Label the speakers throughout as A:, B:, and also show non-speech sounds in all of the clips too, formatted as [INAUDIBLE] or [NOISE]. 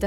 A: Det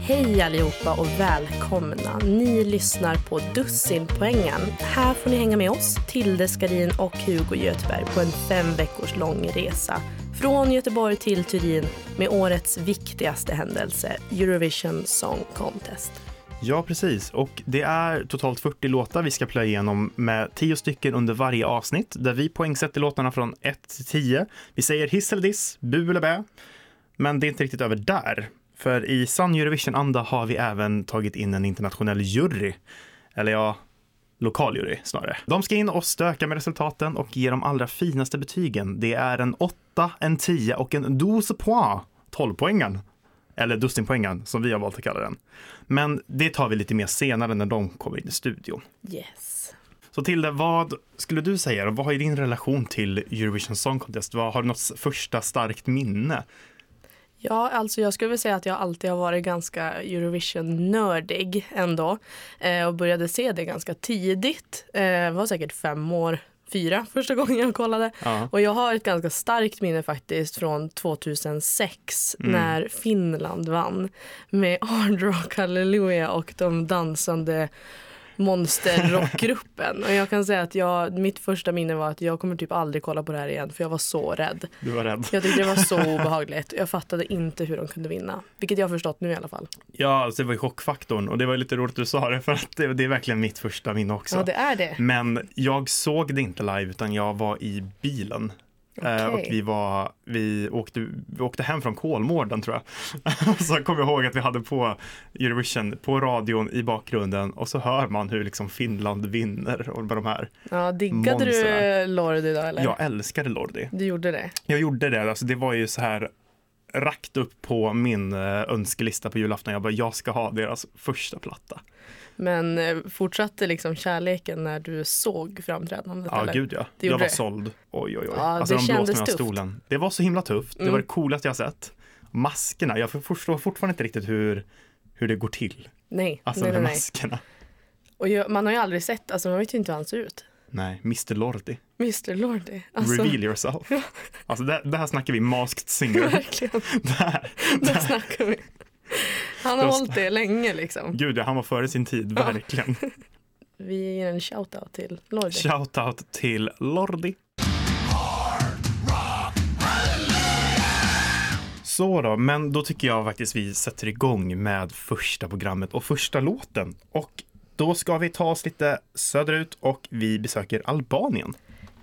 B: Hej allihopa och välkomna. Ni lyssnar på Dussinpoängen. Här får ni hänga med oss, Tilde Skarin och Hugo Götberg på en fem veckors lång resa från Göteborg till Turin med årets viktigaste händelse, Eurovision Song Contest.
C: Ja, precis. Och det är totalt 40 låtar vi ska plöja igenom med 10 stycken under varje avsnitt där vi poängsätter låtarna från 1 till 10. Vi säger hiss eller diss, bu eller bä. Men det är inte riktigt över där. För i sann Eurovision-anda har vi även tagit in en internationell jury. Eller ja, lokal jury snarare. De ska in och stöka med resultaten och ge de allra finaste betygen. Det är en 8, en 10 och en 12 poäng, 12-poängen. Eller dussinpoängen som vi har valt att kalla den. Men det tar vi lite mer senare när de kommer in i studion.
B: Yes.
C: Så Tilde, vad skulle du säga då? Vad är din relation till Eurovision Song Contest? Vad, har du något första starkt minne?
B: Ja, alltså jag skulle väl säga att jag alltid har varit ganska Eurovision-nördig ändå. Eh, och började se det ganska tidigt. Eh, var säkert fem år, fyra första gången jag kollade.
C: Ja.
B: Och jag har ett ganska starkt minne faktiskt från 2006 när Finland vann med [LAUGHS] Hard Rock Hallelujah och de dansande monsterrockgruppen. och jag kan säga att jag, mitt första minne var att jag kommer typ aldrig kolla på det här igen för jag var så rädd.
C: Du var rädd.
B: Jag tyckte det var [LAUGHS] så obehagligt. Jag fattade inte hur de kunde vinna. Vilket jag har förstått nu i alla fall.
C: Ja, alltså det var ju chockfaktorn och det var ju lite roligt att du sa det för att det, det är verkligen mitt första minne också.
B: är det.
C: Men jag såg det inte live utan jag var i bilen. Eh, och
B: Okej.
C: vi, var, vi, åkte, vi åkte hem från Kolmården tror jag. [LAUGHS] så kommer jag ihåg att vi hade på Eurovision på radion i bakgrunden och så hör man hur liksom Finland vinner. Och med de här.
B: Ja, diggade du
C: Monster.
B: Lord idag eller?
C: Jag älskade Lordi.
B: Du gjorde det?
C: Jag gjorde det, alltså det var ju så här rakt upp på min eh, önskelista på julafton. Jag bara, jag ska ha deras första platta.
B: Men eh, fortsatte liksom kärleken när du såg framträdandet?
C: Ja,
B: eller?
C: gud ja.
B: Det
C: jag
B: gjorde
C: var
B: det.
C: såld. Oj, oj, oj.
B: Ja,
C: alltså,
B: det
C: de
B: kändes
C: blåste mig av
B: tufft. Mm.
C: stolen. Det var så himla tufft. Det var det coolaste jag sett. Maskerna. Jag förstår fortfarande inte riktigt hur, hur det går till.
B: Nej,
C: Alltså
B: nej,
C: de
B: nej,
C: här
B: nej.
C: maskerna.
B: Och jag, man har ju aldrig sett, alltså man vet ju inte hur han ser ut.
C: Nej, Mr Lordi.
B: Mr Lordy.
C: [LAUGHS]
B: Alltså, [LAUGHS]
C: Reveal yourself. Alltså det, det här snackar vi masked singer.
B: verkligen.
C: det här.
B: Där snackar vi. Han har
C: Då-
B: hållit det länge liksom.
C: Gud, ja, han var före sin tid, verkligen.
B: Vi ger en shout-out till Lordy.
C: Shoutout till Lordi. Så då, men då tycker jag faktiskt vi sätter igång med första programmet och första låten. Och då ska vi ta oss lite söderut och vi besöker Albanien.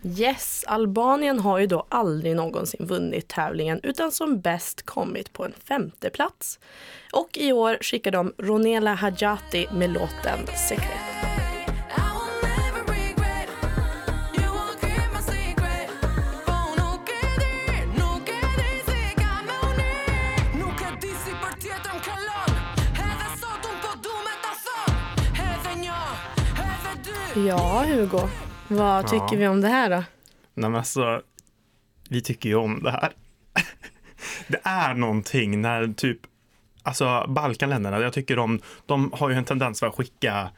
B: Yes, Albanien har ju då aldrig någonsin vunnit tävlingen utan som bäst kommit på en femte plats. Och i år skickar de Ronela Hadjati med låten Sekret.
D: I will never regret. You won't keep my secret. Oh, For nuk e di, nuk e di si ka me uni. Nuk e di si për tjetër m'këllon. Edhe sot unë po du me ta thon. Edhe një, edhe dy.
B: Ja, Hugo, vad tycker vi om det här då?
C: Nej men alltså, vi tycker ju om det här. [LAUGHS] det är någonting när typ, alltså Balkanländerna, jag tycker de, de har ju en tendens för att skicka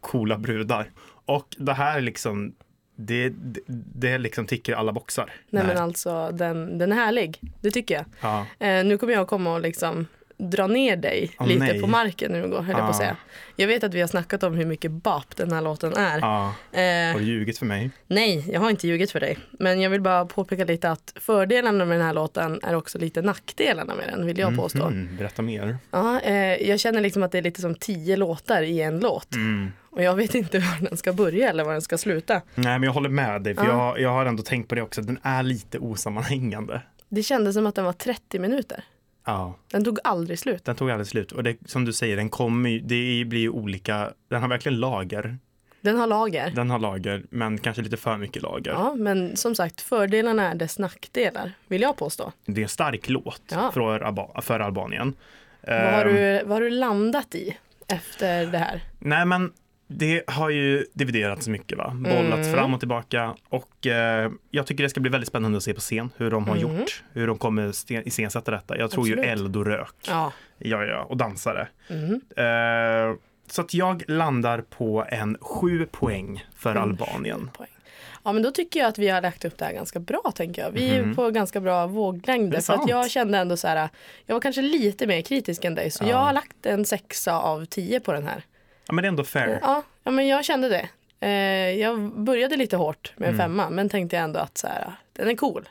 C: coola brudar. Och det här är liksom, det, det, det liksom tickar alla boxar.
B: Nej, men alltså, den, den är härlig. Det tycker jag.
C: Ja.
B: Eh, nu kommer jag komma och liksom dra ner dig
C: Åh,
B: lite
C: nej.
B: på marken, Hugo, höll jag på att
C: Ah.
B: säga. Jag vet att vi har snackat om hur mycket bap den här låten är.
C: Ja,
B: Eh,
C: har du ljugit för mig?
B: Nej, jag har inte ljugit för dig. Men jag vill bara påpeka lite att fördelarna med den här låten är också lite nackdelarna med den, vill jag påstå.
C: Mm, berätta mer.
B: Ja, eh, jag känner liksom att det är lite som tio låtar i en låt.
C: Mm.
B: Och jag vet inte [LAUGHS] var den ska börja eller var den ska sluta.
C: Nej men jag håller med dig, för jag, jag har ändå tänkt på det också, den är lite osammanhängande.
B: Det kändes som att den var 30 minuter.
C: Ja.
B: Den tog aldrig slut.
C: Den tog aldrig slut. Och det, som du säger, den kommer ju, det blir ju olika. Den har verkligen lager.
B: Den har lager.
C: Den har lager, men kanske lite för mycket lager.
B: Ja, men som sagt, fördelarna är dess nackdelar, vill jag påstå.
C: Det är en stark låt
B: Ja.
C: för, Alba, för Albanien.
B: Vad har,
C: Ehm,
B: du, vad har du landat i efter det här?
C: Nej, men det har ju dividerats mycket, va? bollats
B: Mm.
C: fram och tillbaka. Och eh, jag tycker det ska bli väldigt spännande att se på scen hur de har gjort, hur de kommer sten- iscensätta detta. Jag tror ju
B: Mm. Absolut.
C: eld och rök,
B: Ja.
C: ja, ja, och dansare.
B: Mm.
C: Eh, så att jag landar på en sju poäng för
B: Mm.
C: Albanien.
B: Poäng. Ja men då tycker jag att vi har lagt upp det här ganska bra tänker jag. Vi är ju på ganska bra
C: Mhm. Det
B: våglängder.
C: är
B: För att
C: sant.
B: jag kände ändå så här, jag var kanske lite mer kritisk än dig. Så jag har lagt en sexa av tio på den här.
C: Ja, men det är ändå fair.
B: Ja, ja men jag kände det. Eh, jag började lite hårt
C: Mm.
B: med en femma men tänkte jag ändå att så här, den är cool.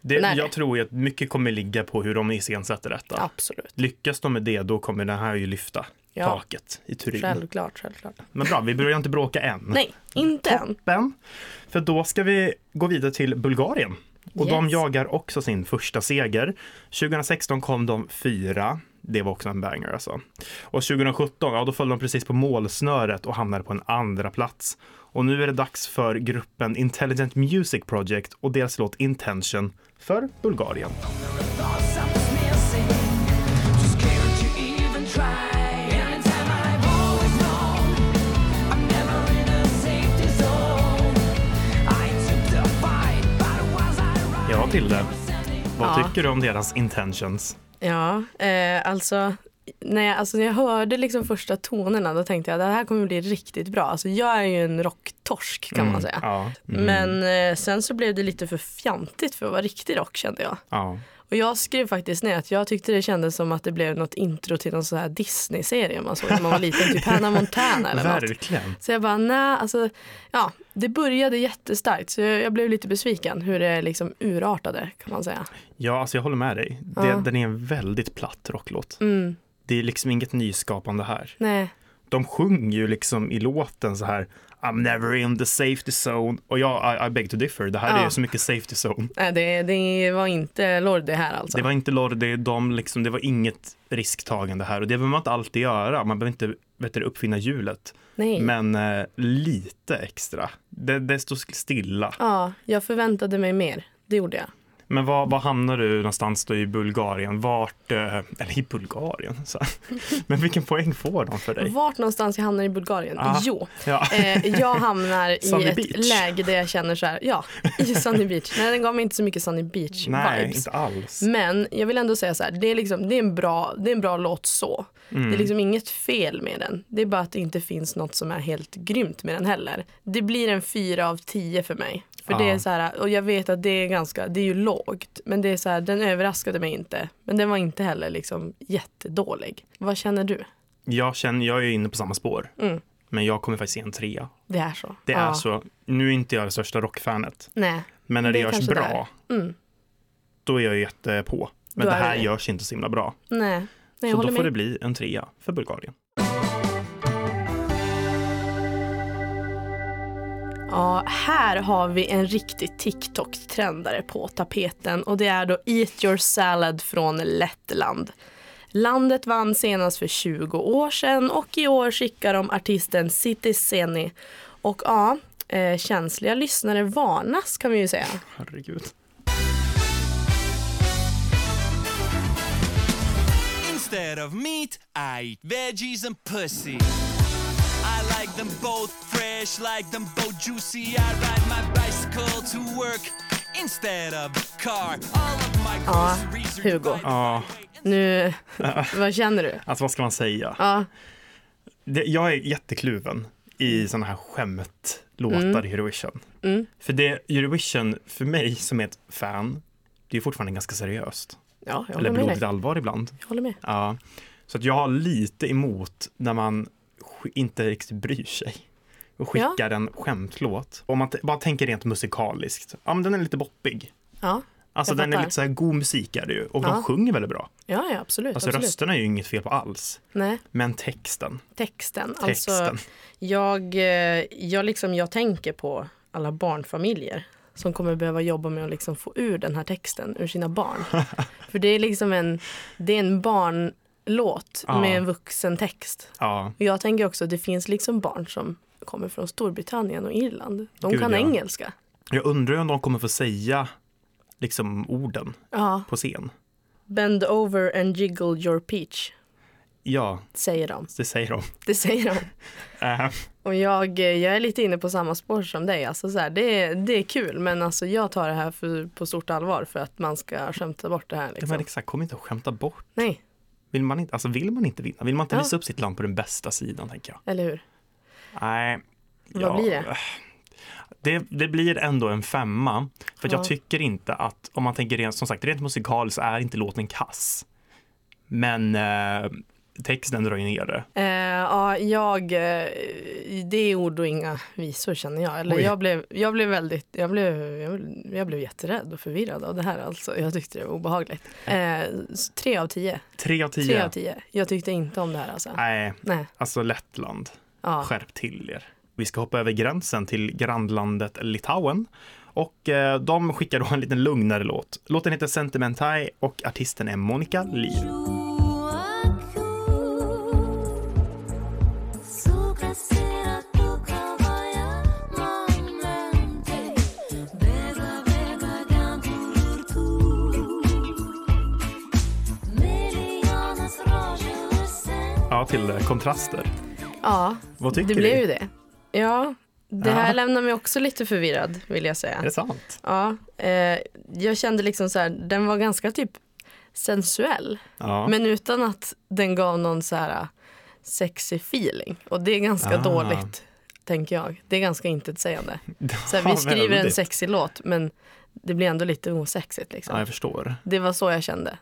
C: Det,
B: Nej.
C: jag tror ju att mycket kommer ligga på hur de iscensätter detta.
B: Absolut.
C: Lyckas de med det, då kommer den här ju lyfta
B: Ja.
C: taket i Turin.
B: Självklart, självklart.
C: Men bra, vi börjar inte bråka än.
B: Nej, inte än.
C: Ben, för då ska vi gå vidare till Bulgarien. Och de
B: Yes.
C: jagar också sin första seger. 2016 kom de fyra. Det var också en banger alltså. Och 2017, ja då föll de precis på målsnöret och hamnade på en andra plats. Och nu är det dags för gruppen Intelligent Music Project och deras låt Intention för Bulgarien. Ja, Tilde, vad
B: Ja.
C: tycker du om deras intentions?
B: Ja, eh, alltså när jag, alltså när jag hörde liksom första tonerna då tänkte jag att det här kommer bli riktigt bra. Alltså jag är ju en rocktorsk kan man säga.
C: Mm, Ja,
B: Men eh, sen så blev det lite för fjantigt för att vara riktig rock kände jag.
C: ja.
B: Och jag skrev faktiskt ner att jag tyckte det kändes som att det blev något intro till någon sån här Disney-serie man såg när man var liten, typ Hannah Montana eller något.
C: verkligen.
B: Så jag bara, nej, alltså, ja, det började jättestarkt så jag, jag blev lite besviken hur det liksom urartade kan man säga.
C: Ja, alltså jag håller med dig. Det, Den är en väldigt platt rocklåt.
B: Mm.
C: Det är liksom inget nyskapande här.
B: Nej,
C: De sjunger ju liksom i låten så här I'm never in the safety zone. Och jag, I, I beg to differ, det här
B: Ja.
C: är ju så mycket safety zone.
B: nej det, det var inte Lordi här alltså.
C: Det var inte Lordi, de liksom, det var inget risktagande här. Och det behöver man inte alltid göra, man behöver inte vet du, uppfinna hjulet.
B: nej.
C: Men eh, lite extra. Det, det står stilla.
B: Ja, jag förväntade mig mer. Det gjorde jag.
C: Men var, var hamnar du någonstans då i Bulgarien? Vart, eh, eller i
B: [LAUGHS]
C: Bulgarien? Så. här. Men vilken poäng får de för dig?
B: Vart någonstans jag hamnar i Bulgarien?
C: Ah.
B: Jo,
C: Ja.
B: eh,
C: [LAUGHS]
B: jag hamnar i
C: Sunny
B: ett
C: Beach.
B: läge där jag känner så här, ja, i Sunny Beach. Nej, den gav mig inte så mycket Sunny Beach
C: Nej,
B: vibes.
C: inte alls.
B: Men jag vill ändå säga så här, det är, liksom, det är, en, bra, det är en bra låt så.
C: Mm.
B: Det är liksom inget fel med den. Det är bara att det inte finns något som är helt grymt med den heller. Det blir en fyra av tio för mig. För det är
C: Ja.
B: så här, och jag vet att det är ganska, det är ju lågt. Men det är så här, den överraskade mig inte. Men den var inte heller liksom jättedålig. Vad känner du?
C: Jag känner, jag är inne på samma spår. Men jag kommer faktiskt ge en trea.
B: Det är så.
C: Det är
B: Mm. Ja.
C: så. Nu är inte jag det största rockfanet.
B: Nej.
C: Men när det,
B: Det är
C: görs
B: kanske
C: bra, då är jag jättepå. Men
B: Då
C: det
B: är
C: här
B: det.
C: görs inte så himla bra.
B: Nej. Nej, jag
C: Så
B: håller
C: då får
B: med.
C: det bli en trea för Bulgarien.
B: Ja, här har vi en riktig TikTok-trendare på tapeten och det är då Eat your salad från Lettland. Landet vann senast för 20 år sedan och i år skickar de artisten City Seni. Och ja, eh, känsliga lyssnare varnas kan vi ju säga.
C: Herregud.
E: Instead of meat, I eat veggies and pussy. I like them both fresh, like them both juicy. I ride my bicycle to work instead of car. All of my groceries are
B: Hugo.
E: divided
C: Ja,
B: Nu, vad känner du?
C: alltså vad ska man säga?
B: Ja,
C: Det, jag är jättekluven i sådana här skämtlåtar
B: Mm.
C: i Eurovision. För det Eurovision, för mig som är ett fan, det är fortfarande ganska seriöst.
B: ja jag håller
C: Eller
B: med dig.
C: blodigt allvar ibland.
B: Jag håller med.
C: Ja, så att jag har lite emot när man sk- inte riktigt bryr sig och
B: Ja.
C: skickar en skämtlåt. Om man t- bara tänker rent musikaliskt, ja men den är lite boppig.
B: Ja,
C: Alltså
B: Jag
C: den är
B: fattar.
C: lite så här god musik är det ju och
B: Ja.
C: de sjunger väldigt bra.
B: ja, ja absolut.
C: Alltså
B: absolut.
C: rösterna är ju inget fel på alls.
B: Nej.
C: Men texten,
B: texten.
C: Texten.
B: Alltså, jag, eh, jag, liksom, jag tänker på alla barnfamiljer som kommer behöva jobba med att liksom få ur den här texten ur sina barn.
C: [LAUGHS]
B: För det är liksom en, det är en barnlåt
C: Ja.
B: med en vuxen text.
C: ja.
B: Och jag tänker också att det finns liksom barn som kommer från Storbritannien och Irland. De
C: Gud,
B: kan
C: ja.
B: engelska.
C: Jag undrar ju om de kommer få säga liksom orden
B: Ja,
C: på scen.
B: bend over and jiggle your peach.
C: Ja,
B: säger de.
C: det säger de.
B: Det säger de.
C: [LAUGHS] Eh,
B: Och jag, eh, jag är lite inne på samma spår som dig. Alltså så här, det, är- det är kul men alltså jag tar det här för, på stort allvar för att man ska skämta bort det här.
C: det
B: Liksom.
C: var exakt, kom inte och skämta bort.
B: Nej,
C: Vill man inte, alltså vill man inte vinna? Vill man inte
B: Ja.
C: visa upp sitt land på den bästa sidan, tänker jag?
B: eller hur?
C: Nej.
B: Vad blir det?
C: eh, det? Det blir ändå en femma. För att
B: Ja.
C: jag tycker inte att, om man tänker rent, som sagt, rent musikal så är inte låten kass. Men eh, texten drar ju ner det.
B: Eh, ja, jag, eh, det är ord och inga visor känner jag. Eller
C: Oj.
B: jag, blev, jag blev väldigt, jag blev, jag, blev- jag blev jätterädd och förvirrad av det här alltså. Jag tyckte det var obehagligt. Eh, s- tre av tio.
C: Tre av
B: Tre
C: tio.
B: av tio. Jag tyckte inte om det här alltså.
C: Nej,
B: Nej.
C: alltså Lettland.
B: Ja.
C: Skärp till er. Vi ska hoppa över gränsen till grannlandet Litauen. Och eh, de skickar då en liten lugnare låt. Låten heter Sentimentai och artisten är Monica Lee.
D: Så krasera tukavaja momente Bega, bega gamburur tu Milijona srožile sen
C: Ja, till eh, kontraster.
B: ja,
C: Vad tycker
B: det
C: du?
B: blev ju det. Ja, det här
C: Ja.
B: lämnar mig också lite förvirrad vill jag säga.
C: Är det sant?
B: Ja, eh, jag kände liksom så här, den var ganska typ sensuell.
C: Ja.
B: Men utan att den gav någon så här eh, sexy feeling. Och det är ganska
C: Ah.
B: dåligt, tänker jag. Det är ganska
C: [LAUGHS]
B: intetsägande. Så här,
C: Ja,
B: vi skriver en
C: väldigt.
B: sexig låt, men det blir ändå lite osexigt. Liksom.
C: Ja, jag förstår.
B: Det var så jag kände.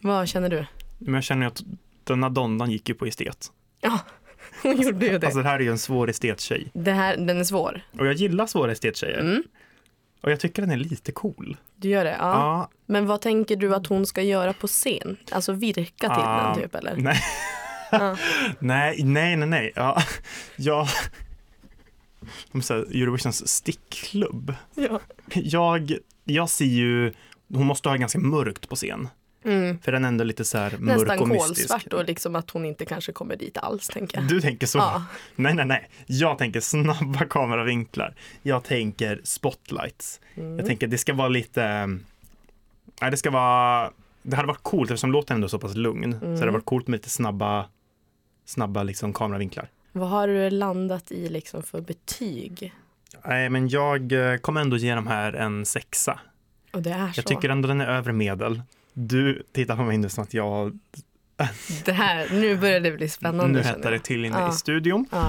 B: Vad känner du? [LAUGHS]
C: Men jag känner ju att den här donnan gick ju på estet.
B: Ja, hon gjorde ju det.
C: Alltså det här är ju en svår estet-tjej.
B: det här, den är svår.
C: Och jag gillar svåra estet-tjejer. Och jag tycker den är lite cool.
B: Du gör det? Mm. Ja.
C: Ja,
B: Men vad tänker du att hon ska göra på scen? Alltså virka till
C: Ah,
B: den typ eller?
C: Nej. [LAUGHS] nej, nej, nej, nej. Ja, ja. De säger Eurovisions stickklubb.
B: Ja.
C: Jag, jag ser ju, hon måste ha ganska mörkt på scen. För den är ändå lite så här mörk
B: Mm. Nästan
C: och mystisk.
B: kolsvart och liksom att hon inte kanske kommer dit alls tänker jag.
C: Du tänker så?
B: Ja.
C: Nej, nej, nej. Jag tänker snabba kameravinklar. Jag tänker spotlights.
B: Mm.
C: Jag tänker det ska vara lite... Nej, det ska vara... Det hade varit coolt eftersom låten ändå är så pass lugn. Så
B: Mm.
C: det hade varit coolt med lite snabba, snabba liksom kameravinklar.
B: Vad har du landat i liksom för betyg?
C: Nej, men jag eh, kommer ändå ge de här en sexa.
B: Och det är så.
C: Jag tycker ändå den är övre medel. Du tittar på mig nu som att jag...
B: Det här, nu börjar det bli spännande.
C: nu
B: känner
C: hettar det
B: jag.
C: till inne
B: Ja.
C: i studion.
B: Ja.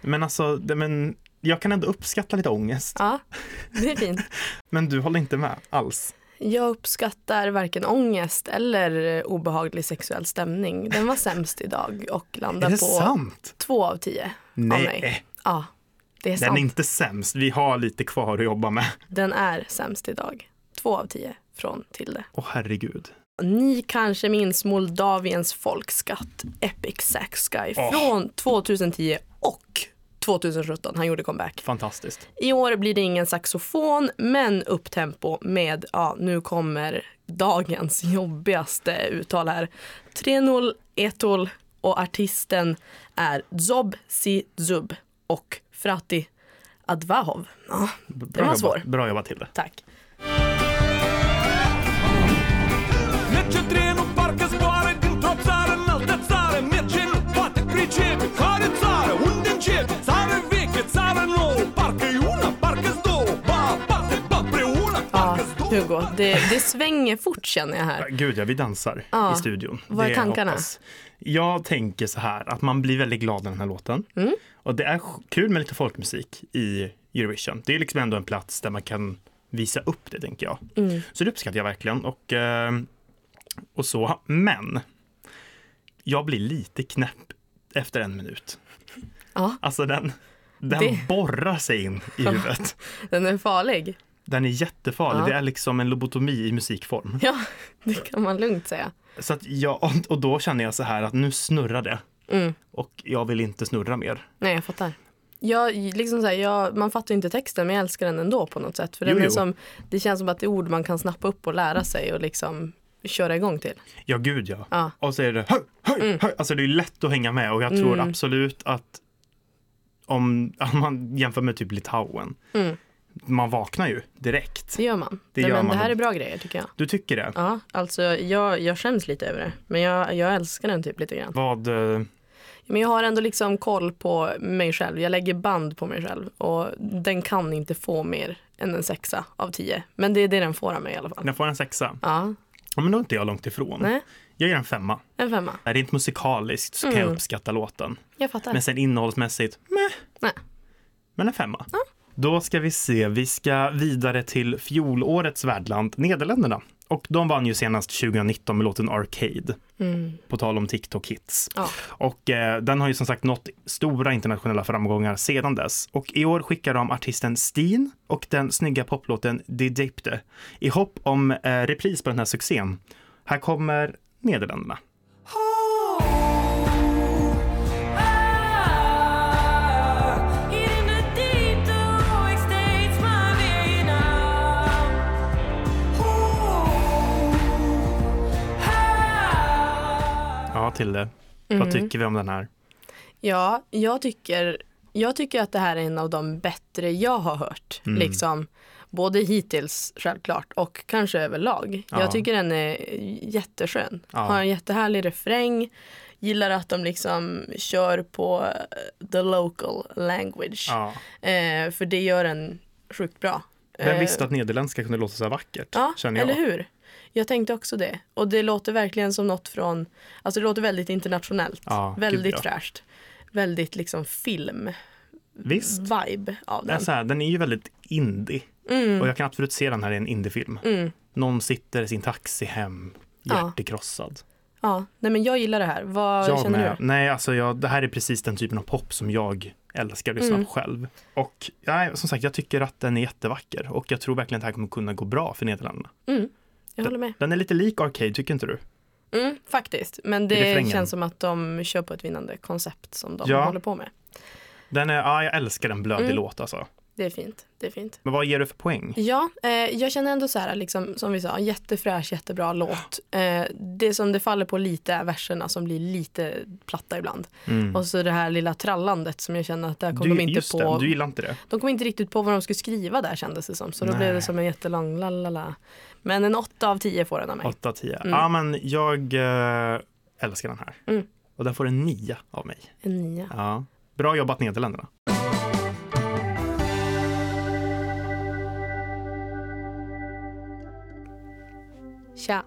C: Men alltså, det, men jag kan ändå uppskatta lite ångest.
B: ja, [LAUGHS] det är fint.
C: Men du håller inte med alls.
B: Jag uppskattar varken ångest eller obehaglig sexuell stämning. Den var sämst idag och
C: Är
B: landar
C: det
B: på
C: sant?
B: två av tio.
C: Nej,
B: Av mig. Ja, det är
C: den
B: sant.
C: är inte sämst. Vi har lite kvar att jobba med.
B: Den är sämst idag. Två av tio från Tilde.
C: Åh herregud.
B: Ni kanske minns Moldaviens folkskatt Epic Sax Guy från 2010 och 2017. Han gjorde comeback.
C: Fantastiskt.
B: I år blir det ingen saxofon, men upptempo med, ja, nu kommer dagens jobbigaste uttal här. 3-0, 1-0 och artisten är Zob Si Zub och Frati Advahov. Ja,
C: Bra
B: var
C: jobbat.
B: svår.
C: Bra jobbat till det.
B: tack.
E: Merge trenul, parcă zboară dintr-o țară în altă țară Merge, nu poate pricepe, care țară, unde începe? Țară veche, țară nouă, parcă-i una, parcă-s două Ba aparte, ba preună,
B: Ja,
E: parcă-s două
B: Hugo, det, det svänger fort känner jag här.
C: Gud ja, vi dansar
B: Ja.
C: i studion.
B: Vad är
C: Det
B: tankarna?
C: hoppas. Jag tänker så här, att man blir väldigt glad av den här låten.
B: Mm.
C: Och det är sj- kul med lite folkmusik i Eurovision. Det är liksom ändå en plats där man kan visa upp det, tänker jag.
B: Mm.
C: Så det uppskattar jag verkligen. Och, eh, och så. Men, jag blir lite knäpp efter en minut.
B: Ja.
C: Alltså den, den
B: Det-
C: borrar sig in i huvudet.
B: Den är farlig.
C: Den är jättefarlig.
B: Ja.
C: Det är liksom en lobotomi i musikform.
B: [LAUGHS] Ja, det kan man lugnt säga.
C: Så att jag, [LAUGHS] och- och då känner jag så här att nu snurrar det.
B: Mm.
C: Och jag vill inte snurra mer.
B: Nej, jag fattar. Jag, liksom så här, jag, man fattar ju inte texten men jag älskar den ändå på något sätt. För den
C: Jo,
B: är
C: jo.
B: Som, det känns som att det är ord man kan snappa upp och lära sig och liksom köra igång till.
C: Ja, gud ja.
B: Ja. Mm.
C: Och så är det höj, höj, höj. Alltså det är lätt att hänga med och jag tror [LAUGHS]
B: Mm.
C: absolut att om, om man jämför med typ Litauen. man vaknar ju direkt.
B: Det gör man.
C: Det
B: Nej,
C: gör
B: men
C: man.
B: Det här är bra grejer tycker jag.
C: Du tycker det?
B: Ja, alltså jag, jag skäms lite över det. Men jag, jag älskar den typ lite grann.
C: Vad, eh,
B: Men jag har ändå liksom koll på mig själv. Jag lägger band på mig själv. Och den kan inte få mer än en sexa av tio. Men det är det den får av mig i alla fall.
C: den får en sexa.
B: Ja,
C: Ja, men då är inte jag långt ifrån.
B: nej,
C: Jag ger en femma.
B: en femma.
C: Nej, Rent musikaliskt så
B: Mm.
C: kan jag uppskatta låten.
B: Jag fattar.
C: Men sen innehållsmässigt, meh.
B: Nej.
C: Men en femma. Då ska vi se, vi ska vidare till fjolårets värdland, Nederländerna. Och de vann ju senast 2019 med låten Arcade, på tal om TikTok-hits.
B: Mm. Ja.
C: Och eh, den har ju som sagt nått stora internationella framgångar sedan dess. Och i år skickar de artisten Steen och den snygga poplåten Die Dipte i hopp om eh, repris på den här succén. Här kommer Nederländerna. Ja, till det.
B: Mm.
C: Vad tycker vi om den här?
B: Ja, jag tycker, jag tycker att det här är en av de bättre jag har hört.
C: Mm.
B: Liksom, både hittills självklart och kanske överlag.
C: Ja.
B: Jag tycker den är jätteskön.
C: Ja.
B: Har en jättehärlig refräng. Gillar att de liksom kör på eh, the local language.
C: Ja.
B: Eh, för det gör den sjukt bra.
C: Vem
B: Eh,
C: visste att nederländska kunde låta så här vackert?
B: Ja,
C: känner jag.
B: eller hur? Jag tänkte också det. Och det låter verkligen som något från, alltså det låter väldigt internationellt.
C: Ja, gud,
B: väldigt
C: ja.
B: fräscht. Väldigt liksom film-vibe
C: Visst.
B: av
C: Det är
B: den.
C: så här, den är ju väldigt indie.
B: Mm.
C: Och jag kan absolut se den här i en indiefilm. Någon sitter i sin taxi hem,
B: Ja.
C: hjärtekrossad.
B: Ja, nej men jag gillar det här. Vad
C: jag
B: känner
C: med.
B: du?
C: Nej, alltså jag, det här är precis den typen av pop som jag älskar att lyssna
B: Mm.
C: på själv. Och nej, som sagt, jag tycker att den är jättevacker. Och jag tror verkligen att det här kommer kunna gå bra för Nederländerna.
B: Jag håller med.
C: Den är lite lik Arcade, tycker inte du?
B: Mm, faktiskt, men
C: refrängen.
B: det känns som att de kör på ett vinnande koncept som de
C: Ja.
B: håller på med.
C: Den är, ja, jag älskar en
B: Mm.
C: blödig låt alltså.
B: Det är fint, det är fint.
C: Men vad ger du för poäng?
B: Ja, eh, jag känner ändå så här, liksom, som vi sa, jättefräsch, jättebra låt. Eh, det som det faller på lite är verserna som blir lite platta ibland. Och så det här lilla trallandet som jag känner att där kom de inte
C: just
B: på.
C: det, Mm. du gillar inte det?
B: De kom inte riktigt på vad de skulle skriva där kändes det som. Så då
C: Nej.
B: blev det som en jättelång la la la. Men en åtta av tio får den av mig.
C: 8 10. Ja, men jag eh, älskar den här.
B: Mm.
C: Och den får en 9 av mig.
B: En nia.
C: Ja. Bra jobbat Nederländerna.
B: Tja.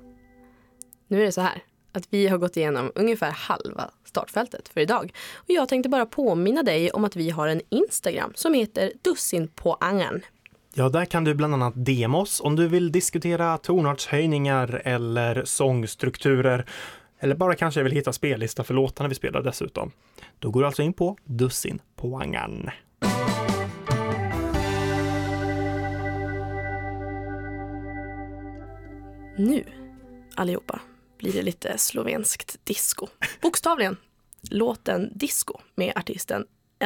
B: Nu är det så här att vi har gått igenom ungefär halva startfältet för idag. Och jag tänkte bara påminna dig om att vi har en Instagram som heter dussinpoangen.
F: Ja, där kan du bland annat DM oss om du vill diskutera tonartshöjningar eller sångstrukturer. Eller bara kanske vill hitta spellista för låtarna vi spelar dessutom. Då går du alltså in på dussinpoangan.
B: Nu, allihopa, blir det lite slovenskt
C: [LAUGHS]
B: disco. Bokstavligen. Låten Disco med artisten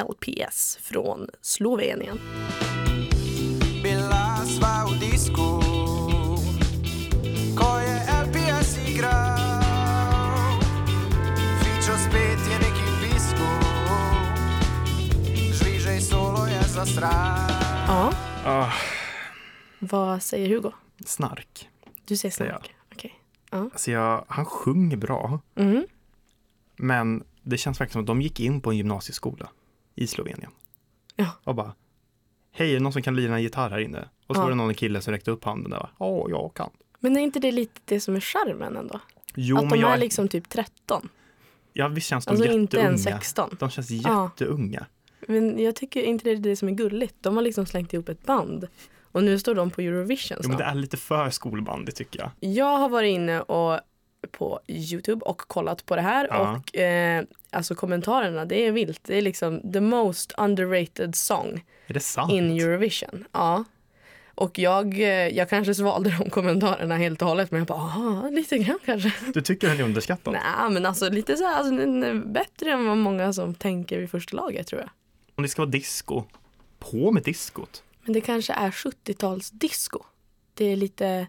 B: LPS från Slovenien.
G: bila sva u disku Koje LPS igrao Fičo spet je neki pisku Žvižej solo je za stran
B: Ja,
C: Ah,
B: vad säger Hugo?
C: snark.
B: Du säger
C: Säger
B: snark. Okej.
C: Alltså jag, han sjunger bra.
B: Mm.
C: Men det känns verkligen som att de gick in på en gymnasieskola i Slovenien.
B: Ja.
C: Och bara, hej, är det någon som kan lira en gitarr här inne? Och så
B: Ja.
C: var det någon kille som räckte upp handen där. Ja, jag kan.
B: Men är inte det lite det som är charmen ändå?
C: Jo,
B: att
C: men
B: de
C: jag,
B: är liksom typ 13.
C: ja, visst känns de
B: Alltså
C: jätteunga.
B: inte ens 16.
C: De känns
B: Ja.
C: jätteunga.
B: Men jag tycker inte det är det som är gulligt. De har liksom slängt ihop ett band. Och nu står de på Eurovision
C: Jo, men det
B: snart.
C: är lite för skolbandigt tycker jag.
B: Jag har varit inne och på Youtube och kollat på det här.
C: Ja.
B: Och eh, alltså kommentarerna, det är vilt. Det är liksom the most underrated song
C: Är det sant?
B: in Eurovision. Ja. Och jag, eh, jag kanske svalde de kommentarerna helt och hållet. Men jag bara, aha, lite grann kanske.
C: Du tycker den är underskattad?
B: Nej, men alltså lite så här, alltså, den är bättre än vad många som tänker vid första laget tror jag.
C: Om det ska vara disco, på med diskot.
B: Men det kanske är 70-talsdisco. Det är lite,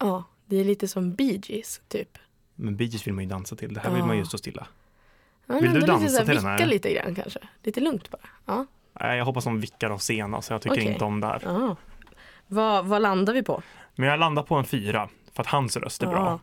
B: ja, det är lite som Bee Gees typ.
C: Men Bee Gees vill man ju dansa till, det här vill man ju stå stilla.
B: Ja, men
C: Vill du
B: ändå
C: dansa
B: lite så här
C: till den här?
B: Vicka lite grann kanske. Lite lugnt bara. Ja,
F: Nej, Jag hoppas de vickar av scenen, så jag tycker
B: Okej.
F: inte om det här.
B: Ah. Vad, vad landar vi på?
F: Men jag landar på en fyra, för att hans röst är
B: Ah.
F: bra.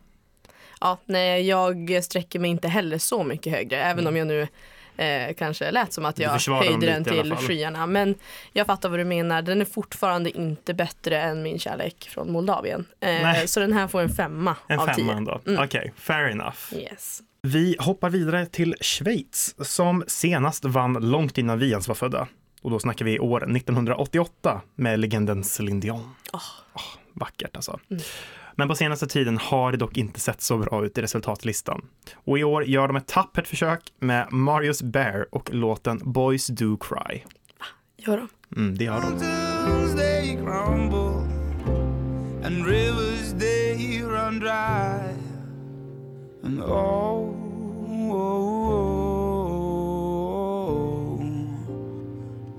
B: Ja, nej, jag sträcker mig inte heller så mycket högre, även om jag nu eh, kanske lät som att
F: Mm. Du
B: jag
F: försvarar dem
B: höjde den
F: lite i alla
B: till
F: fall.
B: skyarna. Men jag fattar vad du menar. Den är fortfarande inte bättre än min kärlek från Moldavien. Eh,
F: Nej.
B: så den här får en femma
F: En
B: av
F: femma
B: tio. Mm.
F: ändå. Okej, fair enough.
B: Yes.
C: Vi hoppar vidare till Schweiz som senast vann långt innan vi ens var födda. Och då snackar vi år 1988 med legenden Céline Dion. Åh, vackert alltså.
B: Mm.
C: Men på senaste tiden har det dock inte sett så bra ut i resultatlistan. Och i år gör de ett tappert försök med Marius Bear och låten Boys Do Cry.
B: Gör de?
C: Mm, det gör de.
G: Mountains they crumble and rivers they run dry. And oh, oh, oh, oh,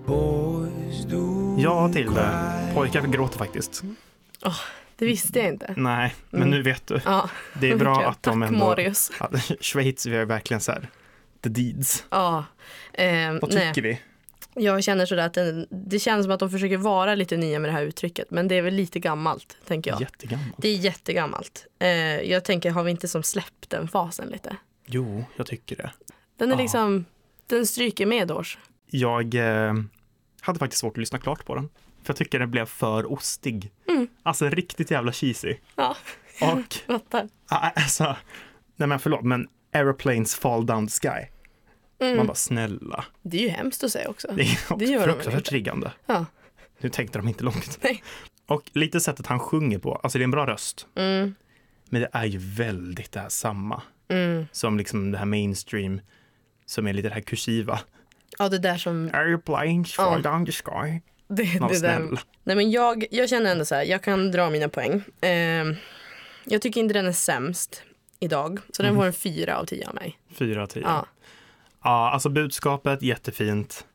G: boys do
C: Ja, till det. Pojkar gråter faktiskt.
B: Mm. Det visste jag inte.
C: Nej, men nu vet du.
B: Mm. Ja,
C: Det är bra
B: verkligen.
C: att de
B: Tack,
C: ändå...
B: Marius.
C: Ja, [LAUGHS] Schweiz gör verkligen så här, the deeds.
B: Ja. Eh,
C: Vad
B: nej.
C: tycker vi?
B: Jag känner sådär att den, det känns som att de försöker vara lite nya med det här uttrycket, men det är väl lite gammalt, tänker jag.
C: Jättegammalt.
B: Det är jättegammalt. Eh, jag tänker, har vi inte som släppt den fasen lite?
C: Jo, jag tycker det.
B: Den är liksom, den stryker med års.
C: Jag eh, hade faktiskt svårt att lyssna klart på den. För jag tycker den blev för ostig. Alltså riktigt jävla cheesy.
B: Mm. Ja,
C: Och [LAUGHS]
B: fattar.
C: ah, alltså, nej men förlåt, men Aeroplanes fall down the sky. Man bara snälla.
B: Det är ju hemskt att säga också.
C: Det är
B: Mm. Det gör de väl
C: fruktansvärt
B: inte.
C: triggande.
B: Ja.
C: Nu tänkte de inte långt.
B: Nej.
C: Och lite sättet han sjunger på, alltså det är en bra röst.
B: Mm.
C: Men det är ju väldigt det här samma.
B: Mm.
C: Som liksom det här mainstream, som är lite det här kursiva.
B: ja, det där som...
C: Airplanes fall down the sky.
B: Det,
C: Var
B: det där.
C: snäll.
B: Nej, men jag, jag känner ändå så här, jag kan dra mina poäng. Eh, jag tycker inte den är sämst idag, så
C: Mm.
B: den får en fyra av tio av mig.
C: Fyra av tio.
B: Ja.
C: Ja. alltså budskapet jättefint.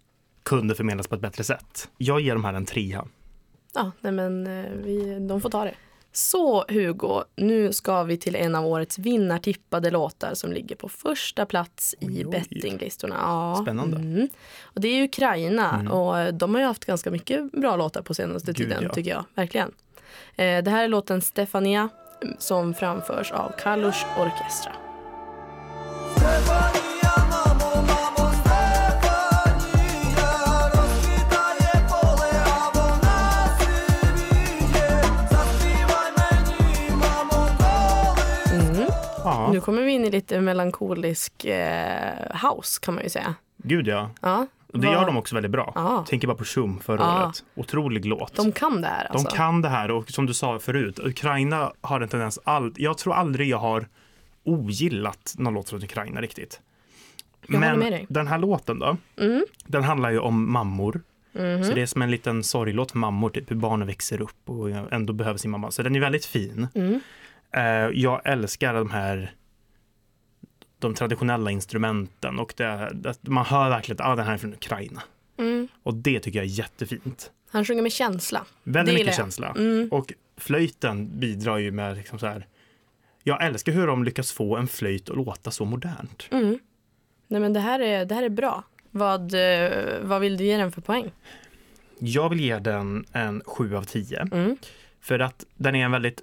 C: Kunde förmedlas på ett bättre sätt. Jag ger de här en trea.
B: Ja, nej men eh, vi, de får ta det. Så Hugo, nu ska vi till en av årets vinnartippade låtar som ligger på första plats i bettinglistorna. Ja.
C: Spännande. Mm.
B: Mm. Och det är Ukraina och de har ju haft ganska mycket bra låtar på senaste
C: Gud,
B: tiden
C: ja.
B: tycker jag. Verkligen. Eh, Det här är låten Stefania som framförs av Kalush Orkestra.
C: Ja,
B: Nu kommer vi in i lite melankolisk eh, house kan man ju säga.
C: gud ja.
B: Ja,
C: Och det
B: vad-
C: gör de också väldigt bra.
B: Ja.
C: Tänker bara på Shum förra
B: Ja.
C: året. Otrolig låt.
B: De kan det här
C: De
B: alltså.
C: kan det här och som du sa förut, Ukraina har en tendens, all, jag tror aldrig jag har ogillat någon låt från Ukraina riktigt.
B: Jag håller
C: Men
B: med dig. Mm.
C: den här låten då, den handlar ju om mammor.
B: Mhm.
C: Så det är som en liten sorglåt för mammor, typ hur barnen växer upp och ändå behöver sin mamma. Så den är väldigt fin.
B: Mm.
C: Eh, jag älskar de här de traditionella instrumenten och det, det, man hör verkligen att ah, den här är från Ukraina.
B: Mm.
C: Och det tycker jag är jättefint.
B: Han sjunger med känsla. Det
C: Väldigt
B: gillar
C: mycket
B: jag. Mm.
C: känsla. Och flöjten bidrar ju med liksom så här. Jag älskar hur de lyckas få en flöjt att låta så modernt.
B: Mm. Nej men det här är, det här är bra. Vad, eh, vad vill du ge den för poäng?
C: Jag vill ge den en 7 av 10.
B: Mm.
C: För att den är en väldigt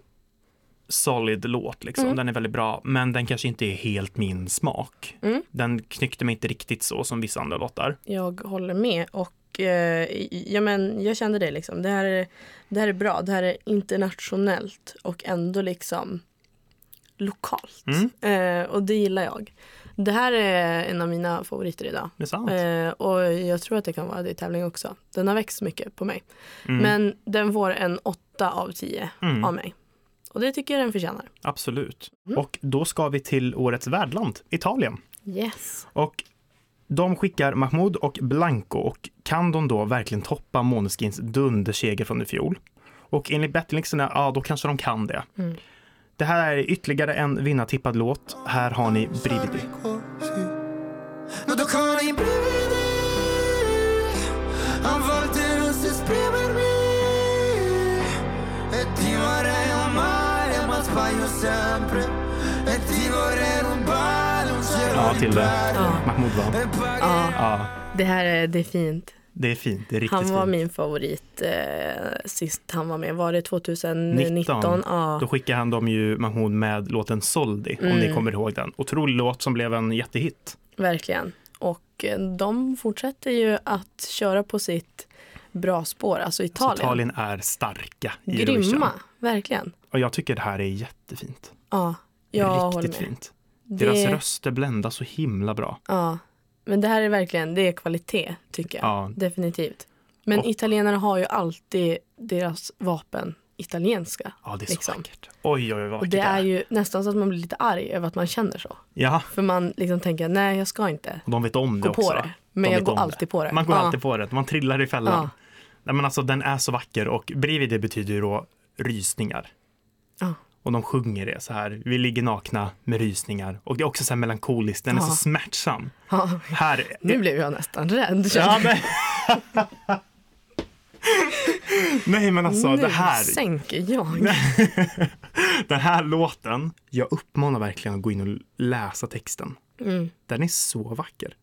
C: solid låt, liksom.
B: Mm.
C: den är väldigt bra, men den kanske inte är helt min smak.
B: Mm.
C: Den knyckte mig inte riktigt så som vissa andra låtar.
B: Jag håller med och eh, ja, men jag kände det liksom. Det här, är, det här är bra. Det här är internationellt och ändå liksom lokalt. Eh, och det gillar jag. Det här är en av mina favoriter idag.
C: Det är sant.
B: Eh, och jag tror att det kan vara det i tävling också. Den har växt mycket på mig. Men den får en 8 av 10 av mig. Och det tycker jag den förtjänar.
C: Absolut.
B: Mm.
C: Och då ska vi till årets värdland, Italien.
B: Yes.
C: Och de skickar Mahmoud och Blanco och kan de då verkligen toppa Måneskins dunderseger från i fjol? Och enligt bettinglistorna, ja då kanske de kan det.
B: Mm.
C: Det här är ytterligare en vinnartippad låt. Här har ni Brividi.
G: così. Non toccano i brividi, a volte non si esprimermi. E ti vorrei amare, ma sbaglio sempre. E ti vorrei rubare un cielo
C: Ja,
G: di
C: till det.
G: pelle.
C: Mahmoud vann.
G: E pagare
C: Ja,
B: Det här är, det är fint.
C: Det är fint, det är riktigt
B: Han var
C: fint.
B: min favorit eh, sist han var med. Var det 2019?
C: 19.
B: Ja. Mm.
C: Då skickade han dem ju Mahmoud med låten Soldi, om ni kommer ihåg den. Otrolig låt som blev en jättehit.
B: Verkligen. Och eh, de fortsätter ju att köra på sitt bra spår, alltså Italien.
C: Så Italien är starka i Eurovision.
B: Grymma, verkligen.
C: Och jag tycker det här är jättefint.
B: Ja, jag håller
C: Riktigt
B: med.
C: fint. Deras
B: Det-
C: röster bländar så himla bra.
B: Ja. Men det här är verkligen, det är kvalitet tycker jag.
C: Ja.
B: Definitivt. Men
C: Och-
B: italienarna har ju alltid deras vapen italienska.
C: Ja, det är så
B: liksom.
C: vackert. Oj, oj, oj,
B: Och
C: vad vackert
B: det är
C: är.
B: ju nästan så att man blir lite arg över att man känner så.
C: Ja,
B: För man liksom tänker, nej jag ska inte.
C: och de vet om det
B: Gå på
C: också.
B: det. Men
C: De
B: jag
C: vet
B: går
C: om
B: alltid på det.
C: Man går
B: Ja.
C: alltid på det. Man trillar i fällan.
B: Ja.
C: Nej, men alltså, den är så vacker och bredvid det betyder ju då rysningar.
B: Ja.
C: Och de sjunger det så här. Vi ligger nakna med rysningar. Och det är också så här melankoliskt. Den är
B: Ja.
C: så smärtsam.
B: Ja.
C: Här.
B: Nu blev jag nästan rädd.
C: Ja, men... [LAUGHS] Nej, men alltså
B: nu
C: det här.
B: sänker jag.
C: Den här låten. Jag uppmanar verkligen att gå in och läsa texten. Den är så vacker.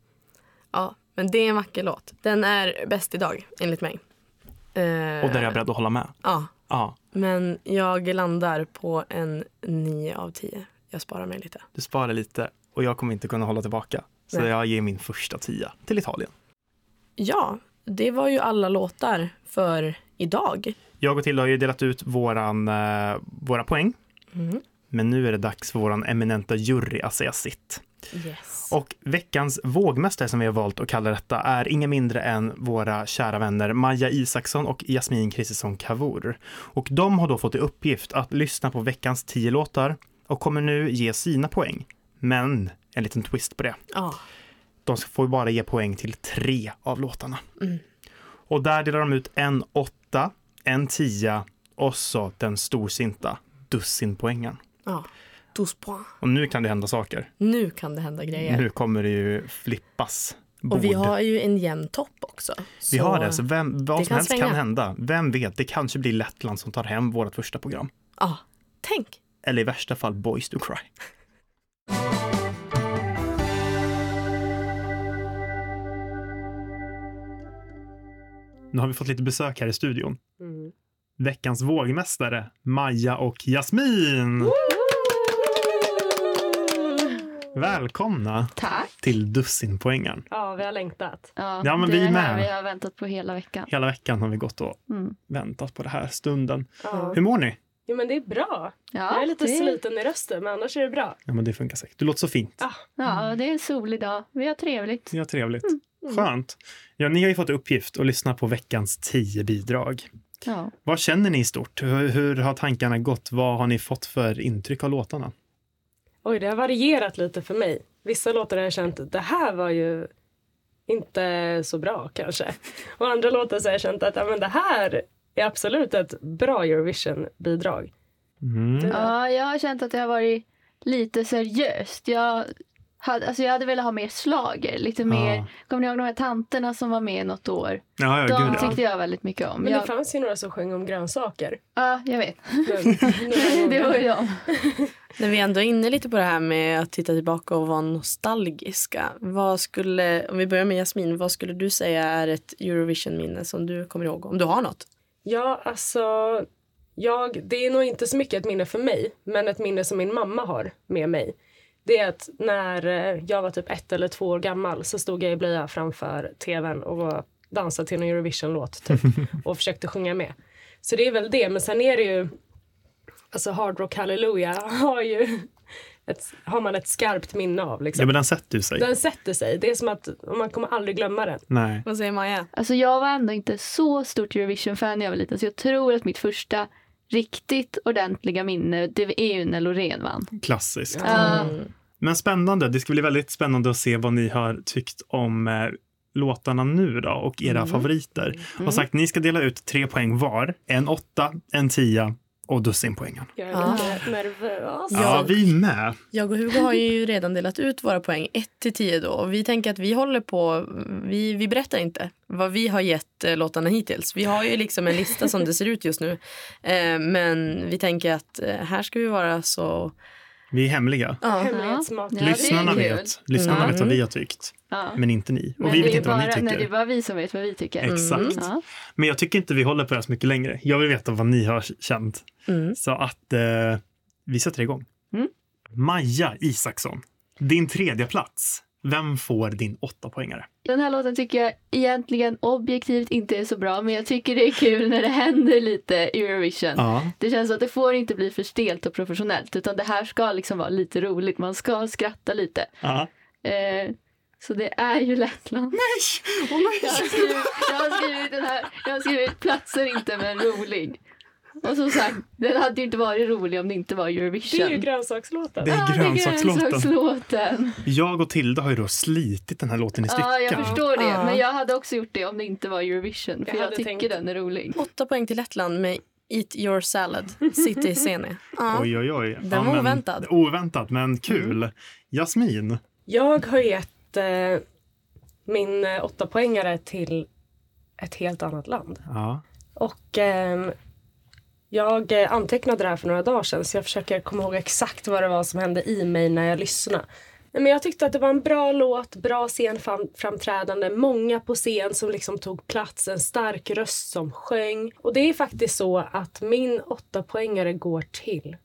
B: Ja, men det är en vacker låt. Den är bäst idag, enligt mig. Eh,
C: Och där är jag beredd att hålla med.
B: Ja,
C: Ja,
B: men jag landar på en 9 av 10. Jag sparar mig lite.
C: du sparar lite och jag kommer inte kunna hålla tillbaka. Så
B: Nej.
C: jag ger min första tia till Italien.
B: Ja, det var ju alla låtar för idag.
C: Jag och Tilda har ju delat ut våran, eh, våra poäng. Men nu är det dags för våran eminenta jury att säga sitt.
B: Yes.
C: Och veckans vågmästare som vi har valt att kalla detta är inga mindre än våra kära vänner Maja Isaksson och Jasmin Kristersson Kavour. Och de har då fått i uppgift att lyssna på veckans tio låtar och kommer nu ge sina poäng. Men en liten twist på det.
B: Ja,
C: De ska- får ju bara ge poäng till tre av låtarna.
B: Mm.
C: Och där delar de ut en åtta, en tia och så den storsinta
B: Mm.
C: dussinpoängen.
B: ja. Dos points.
C: Och nu kan det hända saker.
B: Nu kan det hända grejer.
C: Nu kommer det ju flippas bord.
B: Och vi har ju en jämn topp också.
C: Vi
B: Så-
C: har det, alltså. så vem, vad
B: det
C: som
B: kan
C: helst kan
B: svänga.
C: hända. Vem vet, det kanske blir Lettland som tar hem vårt första program.
B: Ja, tänk.
C: Eller i värsta fall Boys Do Cry.
F: Nu har vi fått lite besök här i studion.
B: Mm.
F: Veckans vågmästare, Maja och Jasmin. Välkomna
H: Tack.
F: till Dussinpoängaren.
I: Ja, vi har längtat.
H: Ja,
F: Ja, men
H: det
F: vi
H: är det
F: med.
H: här vi har väntat på hela veckan.
F: Hela veckan har vi gått och
H: Mm.
F: väntat på den här stunden.
I: Ja.
F: Hur mår ni?
I: Jo, men det är bra.
H: Ja,
I: jag är lite
H: det,
I: sliten i rösten, men annars är det bra.
F: Ja, men det funkar säkert. Du låter så fint.
H: Ah. Ja, det är en solig dag. Vi har trevligt.
F: Ni har trevligt.
H: Mm.
F: Skönt. Ja, ni har ju fått i uppgift att lyssna på veckans tio bidrag.
H: Ja.
F: Vad känner ni i stort? Hur, hur har tankarna gått? Vad har ni fått för intryck av låtarna?
I: Oj, det har varierat lite för mig. Vissa låtar har jag känt, det här var ju inte så bra kanske. Och andra låtar så har jag känt att ja, men det här är absolut ett bra Eurovision-bidrag.
F: Mm.
H: ja, jag har känt att det har varit lite seriöst. Jag hade, alltså jag hade velat ha mer slager, lite mer. Kommer ni ihåg de här tanterna som var med något år?
F: Ja, ja,
H: De
F: gud, ja.
H: tyckte jag väldigt mycket om.
I: Men det
H: Jag,
I: fanns ju några som sjöng om grönsaker.
H: ja, jag vet.
I: Men-
H: det var ju dem.
B: När vi ändå är inne lite på det här med att titta tillbaka och vara nostalgiska. Vad skulle, om vi börjar med Jasmin, vad skulle du säga är ett Eurovision-minne som du kommer ihåg? Om du har något?
I: Ja, alltså... Jag, det är nog inte så mycket ett minne för mig, men ett minne som min mamma har med mig. Det är att när eh, jag var typ ett eller två år gammal så stod jag i blöja framför tvn och var- dansade till en Eurovision-låt typ, och försökte sjunga med. Så det är väl det, men sen är det ju... Alltså Hard Rock Hallelujah har ju [LAUGHS] ett, har man ett skarpt minne av.
F: ja,
I: Liksom.
F: men den sätter ju sig.
I: Den sätter sig. Det är som att man kommer aldrig glömma den.
F: Nej.
B: Vad säger Maja?
H: Alltså jag var ändå inte så stort Eurovision-fan när jag var liten så jag tror att mitt första riktigt ordentliga minne, det är ju när Loreen vann.
F: Klassiskt.
H: Ja.
B: Mm.
F: Men spännande. Det ska bli väldigt spännande att se vad ni har tyckt om eh, låtarna nu då och era
H: Mm.
F: favoriter. Och sagt, ni ska dela ut tre poäng var. En åtta, en tia och dussinpoängen.
I: Jag är
B: Ah.
I: lite nervös.
F: Ja, vi med.
B: Jag och Hugo har ju redan delat ut våra poäng 1 till 10 då och vi tänker att vi håller på, vi, vi berättar inte vad vi har gett eh, låtarna hittills. Vi har ju liksom en lista som det ser ut just nu. Eh, men vi tänker att eh, här ska vi vara så
C: Vi är hemliga.
B: Ja.
I: Hemlighetsmak.
H: Ja. det är
C: Lyssnarna
H: kul.
C: vet. Lyssnarna
B: Mm.
C: vet vad vi har tyckt,
H: Ja.
C: men inte ni. Och
H: Men
C: vi
H: det
C: vet
H: är
C: inte vad
H: bara,
C: ni tycker.
H: Nej, det är bara vi som vet vad vi tycker. Mm.
C: Exakt.
H: Ja.
C: Men jag tycker inte vi håller på det här så mycket längre. Jag vill veta vad ni har känt.
B: Mm.
C: Så att eh, vi sätter igång.
H: Mm.
C: Maja Isaksson, din tredje plats. Vem får din åtta poängare?
H: Den här låten tycker jag egentligen objektivt inte är så bra men jag tycker det är kul när det händer lite i Eurovision.
C: Ja.
H: Det känns att det får inte bli för stelt och professionellt utan det här ska liksom vara lite roligt. Man ska skratta lite.
C: ja.
H: Eh, så det är ju Lettland.
C: Oh
H: Jag har skrivit, jag har skrivit, den här, jag har skrivit platser inte men rolig. Och som sagt, den hade ju inte varit rolig om det inte var
I: Det är ju
H: Eurovision.
I: grönsakslåten.
C: Det är
H: Ah,
C: grönsakslåten.
H: grönsakslåten.
C: Jag och Tilda har ju då slitit den här låten i stycken.
H: Ja, jag förstår det.
B: Ja.
H: Men jag hade också gjort det om det inte var Eurovision. För
I: Jag
H: jag,
I: hade
H: tycker
I: tänkt-
H: den är
C: Mm.
H: rolig.
B: Åtta poäng till Lettland med Eat your salad, City Sene. Ja.
C: Oj, oj, oj.
B: Den var oväntad.
C: Oväntat, men kul.
H: Mm.
C: Jasmin,
I: Jag har gett eh, min eh, åttapoängare till ett helt annat land.
C: ja.
I: Och ehm, jag eh, antecknade det här för några dagar sedan så jag försöker komma ihåg exakt vad det var som hände i mig när jag lyssnade. Nej, Men jag tyckte att det var en bra låt, bra scenframträdande, många på scen som liksom tog plats, en stark röst som sjöng. Och det är faktiskt så att min åtta poängare går till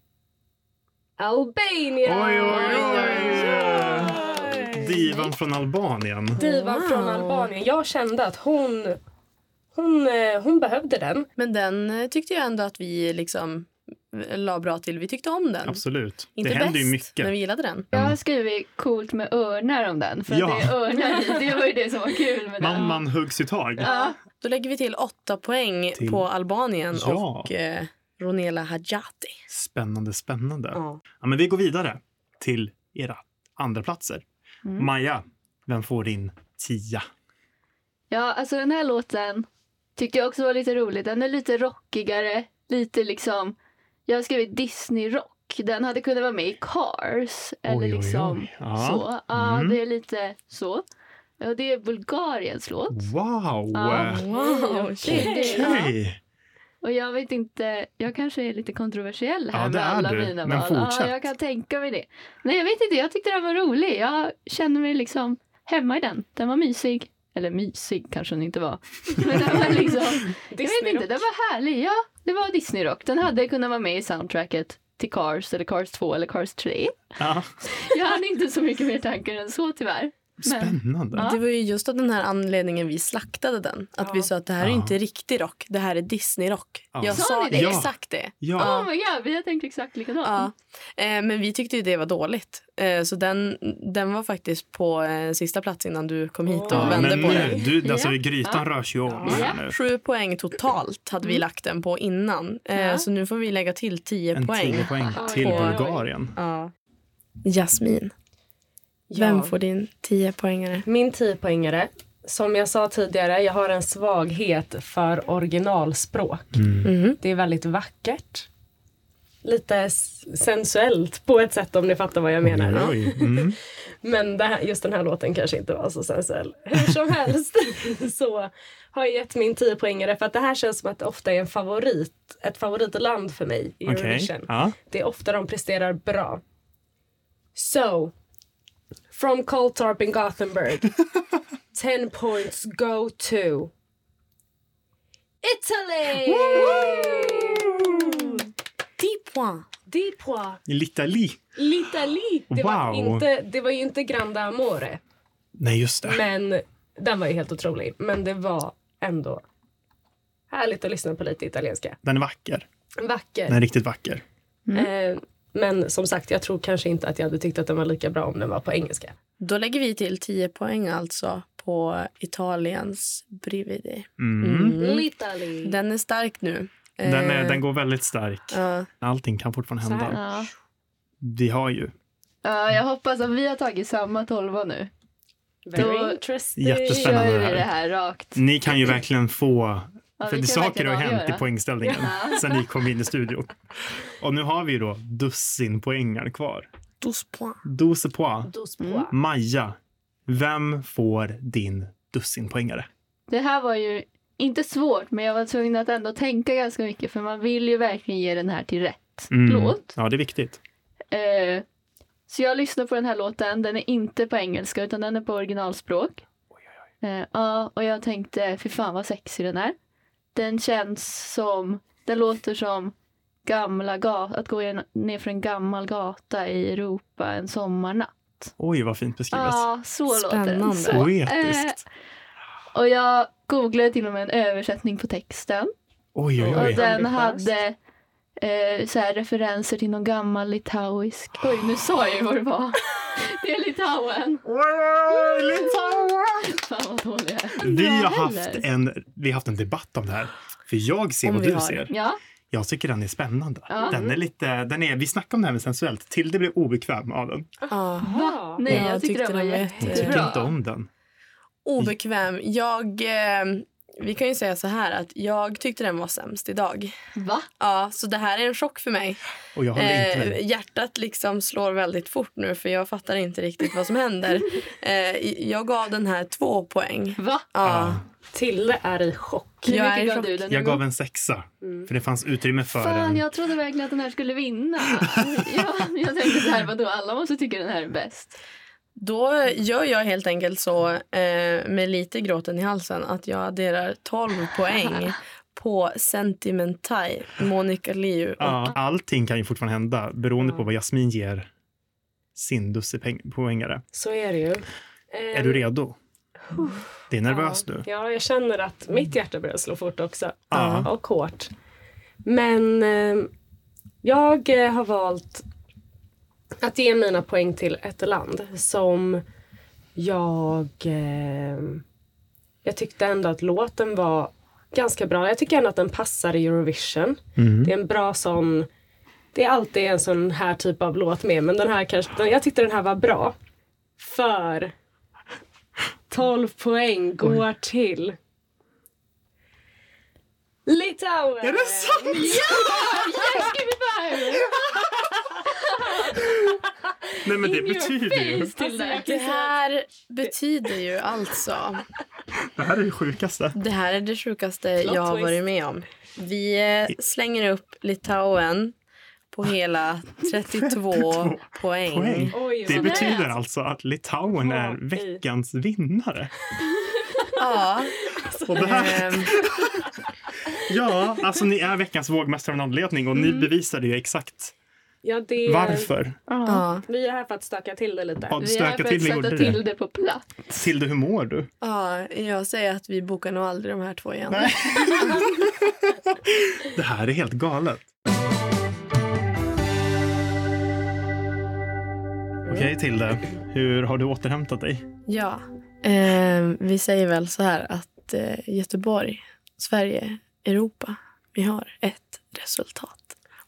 I: Albanien!
C: Oj, oj, oj. divan från Albanien.
I: Divan från
B: Wow.
I: Albanien. Jag kände att hon, hon, eh, hon behövde den.
B: Men den eh, tyckte jag ändå att vi liksom eh, la bra till. Vi tyckte om den.
C: Absolut.
B: Inte
C: det
B: bäst,
C: händer ju mycket.
B: men vi gillade den.
H: Jag har skrivit coolt med örnar om den. För att
C: Ja.
H: det är örnar i. Det var ju det som var kul med den.
C: Mamman huggs i tag.
H: Ja.
B: Då lägger vi till åtta poäng
C: Till-
B: på Albanien
C: Ja.
B: och eh, Ronela Hadjati.
C: Spännande, spännande.
B: Ja.
C: Ja, men vi går vidare till era andra platser.
H: Mm.
C: Maja, vem får din tia?
H: Ja, alltså den här låten tyckte jag också var lite rolig. Den är lite rockigare, lite liksom... Jag har skrivit Disney-rock. Den hade kunnat vara med i Cars. Eller
C: Oj, oj,
H: liksom
C: oj. Ja.
H: så. Ja,
C: Mm.
H: det är lite så. Och det är Bulgariens låt.
C: Wow! Eh,
H: Ja.
B: Wow, shit.
H: Det- ja.
C: Okej.
H: Och jag vet inte, jag kanske är lite kontroversiell
C: Ja,
H: här
C: det
H: med
C: är
H: alla
C: du,
H: mina
C: men
H: val.
C: fortsätt.
H: Ja, jag kan tänka mig det. Nej, jag vet inte, jag tyckte den var rolig. Jag känner mig liksom hemma i den. Den var mysig. Eller mysig kanske den inte var. [LAUGHS] Men den var liksom, jag vet inte, den var härlig. Ja, det var Disney-rock. Den hade kunnat vara med i soundtracket till Cars eller Cars 2 eller Cars 3.
C: Ja.
H: Jag hade inte så mycket mer tankar än så tyvärr. Men,
C: Spännande.
B: Det var ju just av den här anledningen vi slaktade den. Att vi sa att det här är
C: Ja.
B: inte riktig rock, det här är Disney-rock.
C: Ja.
B: Jag
H: Sa
B: sa
H: ni det?
B: exakt det.
C: Ja.
H: oh my god, vi har tänkt exakt likadant.
B: Ja. Eh, men vi tyckte ju det var dåligt. Eh, så den, den var faktiskt på eh, sista plats innan du kom hit och
I: Ja,
C: men
B: vände på
C: nu,
B: den.
C: du, alltså,
H: Ja.
C: grytan rör sig ju om.
H: Ja.
C: nu.
B: Sju poäng totalt hade vi lagt den på innan. Eh,
H: Mm. Ja.
B: Så nu får vi lägga till tio
C: En
B: poäng.
C: 10 poäng
H: Oj,
C: till
B: oj, oj.
C: Bulgarien.
B: Ja. Jasmin, vem får din tio poängare?
I: Min 10-poängare. Som jag sa tidigare, jag har en svaghet för originalspråk. Mm. Det är väldigt vackert. Lite s- sensuellt på ett sätt om ni fattar vad jag menar.
C: Oj, mm.
I: Men det här, just den här låten kanske inte var så sensuell. Hur
C: [LAUGHS]
I: som helst så har jag gett min 10 poängare för att det här känns som att det ofta är en favorit, ett favoritland för mig i
C: Okej.
I: Eurovision.
C: Ja.
I: Det är ofta de presterar bra. So, from Coltorp
C: [LAUGHS]
I: in Gothenburg. 10 points go to Italy!
B: Dix points.
I: Di pois.
C: L'Italie.
I: L'Italie. Det, var
C: Wow.
I: inte, det var ju inte Grande Amore.
C: Nej, just det.
I: Men den var ju helt otrolig. Men det var ändå härligt att lyssna på lite italienska.
C: Den är vacker.
I: Vacker.
C: Den är riktigt vacker. Mm.
I: Eh, men som sagt, jag tror kanske inte att jag hade tyckt att den var lika bra om den var på engelska.
B: Då lägger vi till 10 poäng alltså på Italiens Brividi.
C: Mm.
I: L'Italy.
B: Den är stark nu.
C: Den, är,
B: Eh,
C: den går väldigt stark.
B: ja.
C: Allting kan fortfarande
I: Så här.
C: hända.
H: Ja.
C: Vi har ju
H: Ja, jag hoppas att vi har tagit samma tolva nu.
I: Very
H: Då-
I: interesting.
C: Jättespännande.
H: kör vi
C: det här.
H: det här rakt.
C: Ni kan ju verkligen få...
H: Ja,
C: för
H: vi
C: det
H: kan
C: saker har
H: verkligen
C: hänt i
H: avgöra.
C: poängställningen [LAUGHS] sen ni kom in i studion. Och nu har vi ju då dussin poängar kvar.
B: Douze points.
C: 12 poäng.
I: Dos pois.
C: Mm. Maja, vem får din dussin poängare?
H: Det här var ju inte svårt, men jag var tvungen att ändå tänka
C: Mm.
H: ganska mycket för man vill ju verkligen ge den här till rätt låt.
C: Ja, det är viktigt.
H: Eh, Så jag lyssnar på den här låten. Den är inte på engelska utan den är på originalspråk. Eh, Ja, och jag tänkte fy fan vad sexig den är. Den känns som, den låter som gamla ga- att gå igen- ner för en gammal gata i Europa en sommarnatt.
J: Oj, vad fint beskrivet.
H: Ja, så låter den.
B: Spännande.
H: Så,
C: Poetiskt.
H: eh, och jag googlade till och med en översättning på texten.
C: Oj, oj,
H: Och
C: oj.
H: den
I: Har du först?
H: hade eh, så här, referenser till någon gammal litauisk... Oj, nu sa jag ju vad det
C: [LAUGHS]
H: var. Det är Litauen. Fan vad dålig jag är.
C: Vi
H: Jag
C: har,
H: heller.
C: haft en, vi har haft en debatt om det här. För jag ser
B: Om
C: vad
B: vi
C: du
B: har.
C: ser.
H: Ja,
C: Jag tycker den är spännande.
H: Ja.
C: Den är lite, den är, vi snackade om det här med sensuellt. Till det blev obekväm av den.
B: Ja.
I: Va?
H: nej,
B: Ja,
H: jag tyckte, den var
C: Jag tycker
H: jättebra.
C: inte om den.
B: Obekväm. Jag, eh, vi kan ju säga så här att jag tyckte den var sämst idag.
H: Va?
B: Ja, så det här är en chock för mig.
C: Och jag håller inte med.
B: Eh, hjärtat liksom slår väldigt fort nu för jag fattar inte riktigt vad som
C: [LAUGHS]
B: händer. Eh, jag gav den här två poäng.
H: Va?
B: Ja,
I: Tilde är i chock.
H: Hur
B: Jag är i
H: mycket gav
B: chock.
H: du den?
C: Jag gav en sexa. För det fanns utrymme för
H: Fan,
C: den.
H: jag trodde verkligen att den här skulle vinna. ja, jag tänkte så här, vadå, alla måste tycka den här är bäst.
B: Då gör jag helt enkelt så, eh, med lite gråten i halsen, att jag adderar 12 poäng på Sentimentai, Monica Liu. Och
C: Ja, allting kan ju fortfarande hända beroende på vad Jasmin ger sin dussipoängare.
I: Så är det ju.
C: Är du redo? Det är nervöst nu.
I: Eh. Ja, jag känner att mitt hjärta börjar slå fort också.
C: Ja.
I: Och hårt. Men eh, jag eh, har valt att ge mina poäng till ett land som jag... Eh, jag tyckte ändå att låten var ganska bra. Jag tycker ändå att den passar i Eurovision.
C: Mm.
I: Det är en bra sån... Det är alltid en sån här typ av låt med, men den här kanske... den- Jag tyckte den här var bra. För 12 poäng går till Litauen! Är det sant?
H: Yes, give me five!
C: Nej, men det
H: In your
C: betyder ju...
H: face till det.
B: det här betyder ju alltså...
C: Det här är det sjukaste.
B: Det här är det sjukaste
I: Plot
B: jag har
I: twist.
B: varit med om. Vi eh, slänger upp Litauen på hela 32 poäng.
C: Poäng.
I: Oj,
C: Det
I: vad
C: betyder alltså att Litauen är
I: Oj.
C: veckans vinnare.
B: Ja,
C: Och det här,
B: ehm,
C: [LAUGHS] ja, alltså ni är veckans vågmästare av en anledning och ni bevisade ju exakt
I: Ja, det,
C: varför.
B: ja,
I: Vi är här för att stöka till det lite.
C: Ja,
H: Vi är här
C: stöka
H: för
C: till
H: att
C: det gjorde
H: sätta
C: det.
H: till det på plats.
C: Tilde, hur mår du?
B: ja, jag säger att vi bokar nog aldrig de här två igen.
C: Det här är helt galet. Okej, Tilde. Hur har du återhämtat dig?
B: Ja. Ehm, vi säger väl så här att eh, Göteborg, Sverige, Europa, vi har ett resultat.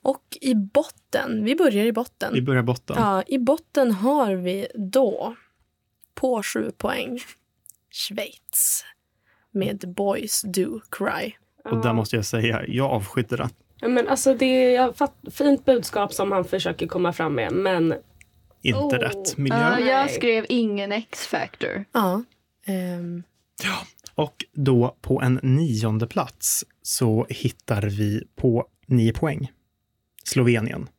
B: Och i botten, vi börjar i botten.
C: Vi börjar botten.
B: ja, I botten har vi då, på sju poäng, Schweiz med Boys Do Cry.
C: Och där måste jag säga, jag avskydde den.
I: Ja, Men alltså, det är jag fatt- fint budskap som han försöker komma fram med, men
C: Inte
I: Oh.
C: rätt
H: Ja,
C: miljö.
H: jag skrev ingen X-Factor.
B: Ja. ehm,
C: Och då på en nionde plats så hittar vi på nio poäng. Slovenien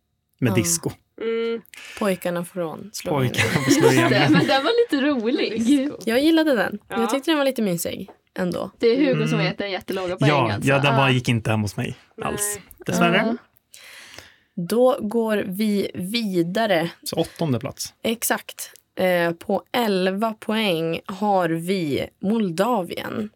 C: med
B: Ah.
C: disco.
I: mm,
B: pojkarna från Slovenien.
C: Pojkarna på Slovenien.
H: Men den var lite rolig.
B: Jag gillade den.
I: Ja.
B: Jag tyckte den var lite mysig ändå.
H: Det är Hugo som
C: Mm.
H: vet den jättelåga poängen.
C: Ja,
H: alltså.
C: ja, den bara gick inte hem hos mig alls. Dessvärre.
B: Då går vi vidare
C: Så åttonde plats.
B: Exakt. Eh, på 11 poäng har vi Moldavien.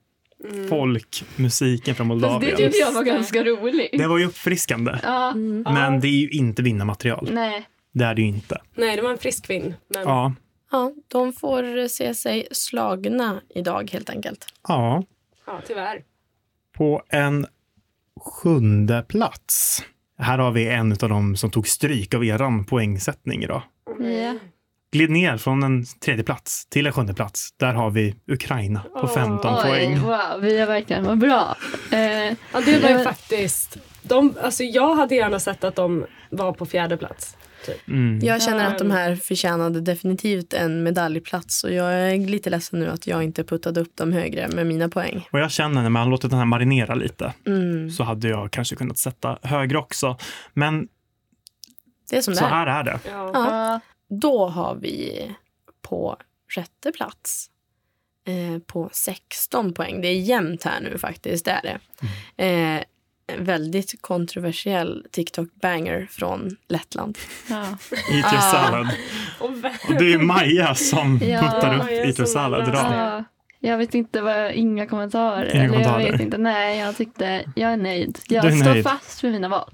C: Folkmusiken från
H: Mm. Fast det
C: Moldavien.
H: tyckte jag var ganska rolig.
C: Det var ju uppfriskande.
H: Ja, Mm.
C: Men det är ju inte vinnarmaterial.
H: nej.
C: Det är det ju inte.
I: nej, det var en frisk vind. Men
C: Ja.
B: Ja, de får eh, se sig slagna idag helt enkelt.
C: ja.
I: ja, tyvärr.
C: På en sjunde plats. Här har vi en av dem som tog stryk av eran poängsättning idag.
H: Ja.
C: Glid ner från en tredje plats till en sjunde plats. Där har vi Ukraina på 15
H: Oj,
C: poäng.
H: wow, vi har verkligen, vad bra. Eh,
I: Ja, det var ju
H: Ja.
I: faktiskt... De, alltså, jag hade gärna sett att de var på fjärde plats.
C: Mm.
B: Jag känner
I: Ja.
B: att de här förtjänade definitivt en medaljplats och jag är lite ledsen nu att jag inte puttade upp dem högre med mina poäng.
C: Och jag känner när man låtit den här marinera lite
B: Mm.
C: så hade jag kanske kunnat sätta högre också. Men
B: Det är som det
C: så
B: är.
C: här är det.
I: Ja.
B: Ja.
H: ja.
B: Då har vi på sjätte plats eh, på 16 poäng. Det är jämnt här nu faktiskt, det är det.
C: Mm.
B: Eh, en väldigt kontroversiell TikTok-banger från Lettland.
H: Ja.
C: Eat your
B: Ah.
C: salad.
I: Och vä-
C: [LAUGHS] Och det är Maja som
H: Ja,
C: puttar upp
I: Maja
C: Eat your
I: som
C: salad
I: läser.
C: idag.
H: Ja, jag vet inte vad, inga kommentarer.
C: Inga
H: eller
C: kommentarer.
H: Jag vet inte, nej jag tyckte, jag är nöjd.
C: Du
H: Jag
C: är
H: står
C: nöjd.
H: fast vid mina val.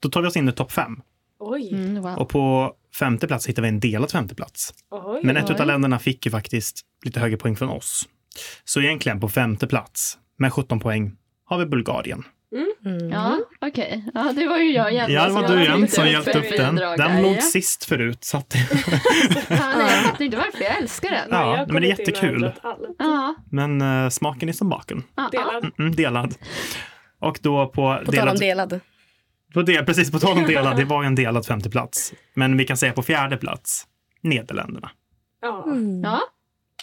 C: Då tar vi oss in i topp fem.
I: Oj,
H: Mm, wow.
C: Och på femte plats hittar vi en delad femte plats.
I: oj.
C: Men ett
H: Oj.
C: av länderna fick ju faktiskt lite högre poäng från oss. Så egentligen på femte plats med 17 poäng har vi Bulgarien.
H: Ja, okej. Ja, det var ju jag igen.
C: Mm. Ja, det
H: som
C: var
H: hade
C: du igen
H: lite
C: som hjälpte upp den.
H: bidrag
C: Den
H: där, ja.
C: låg sist förut. Så att,
H: Ja, nej, jag fattar inte varför, jag älskar den. Ja,
I: Jag
C: ja,
I: har
C: men det är
I: kommit in
C: jättekul.
I: under all-
H: ja,
C: Men eh, smaken är som baken.
H: ja.
I: Delad.
C: Mm, delad. Och då på,
B: På tal om
C: delad,
B: delad.
C: på del, precis på tal om delad, det var ju en delad femte plats. Men vi kan säga på fjärde plats, Nederländerna.
I: Ja.
C: Mm.
H: ja.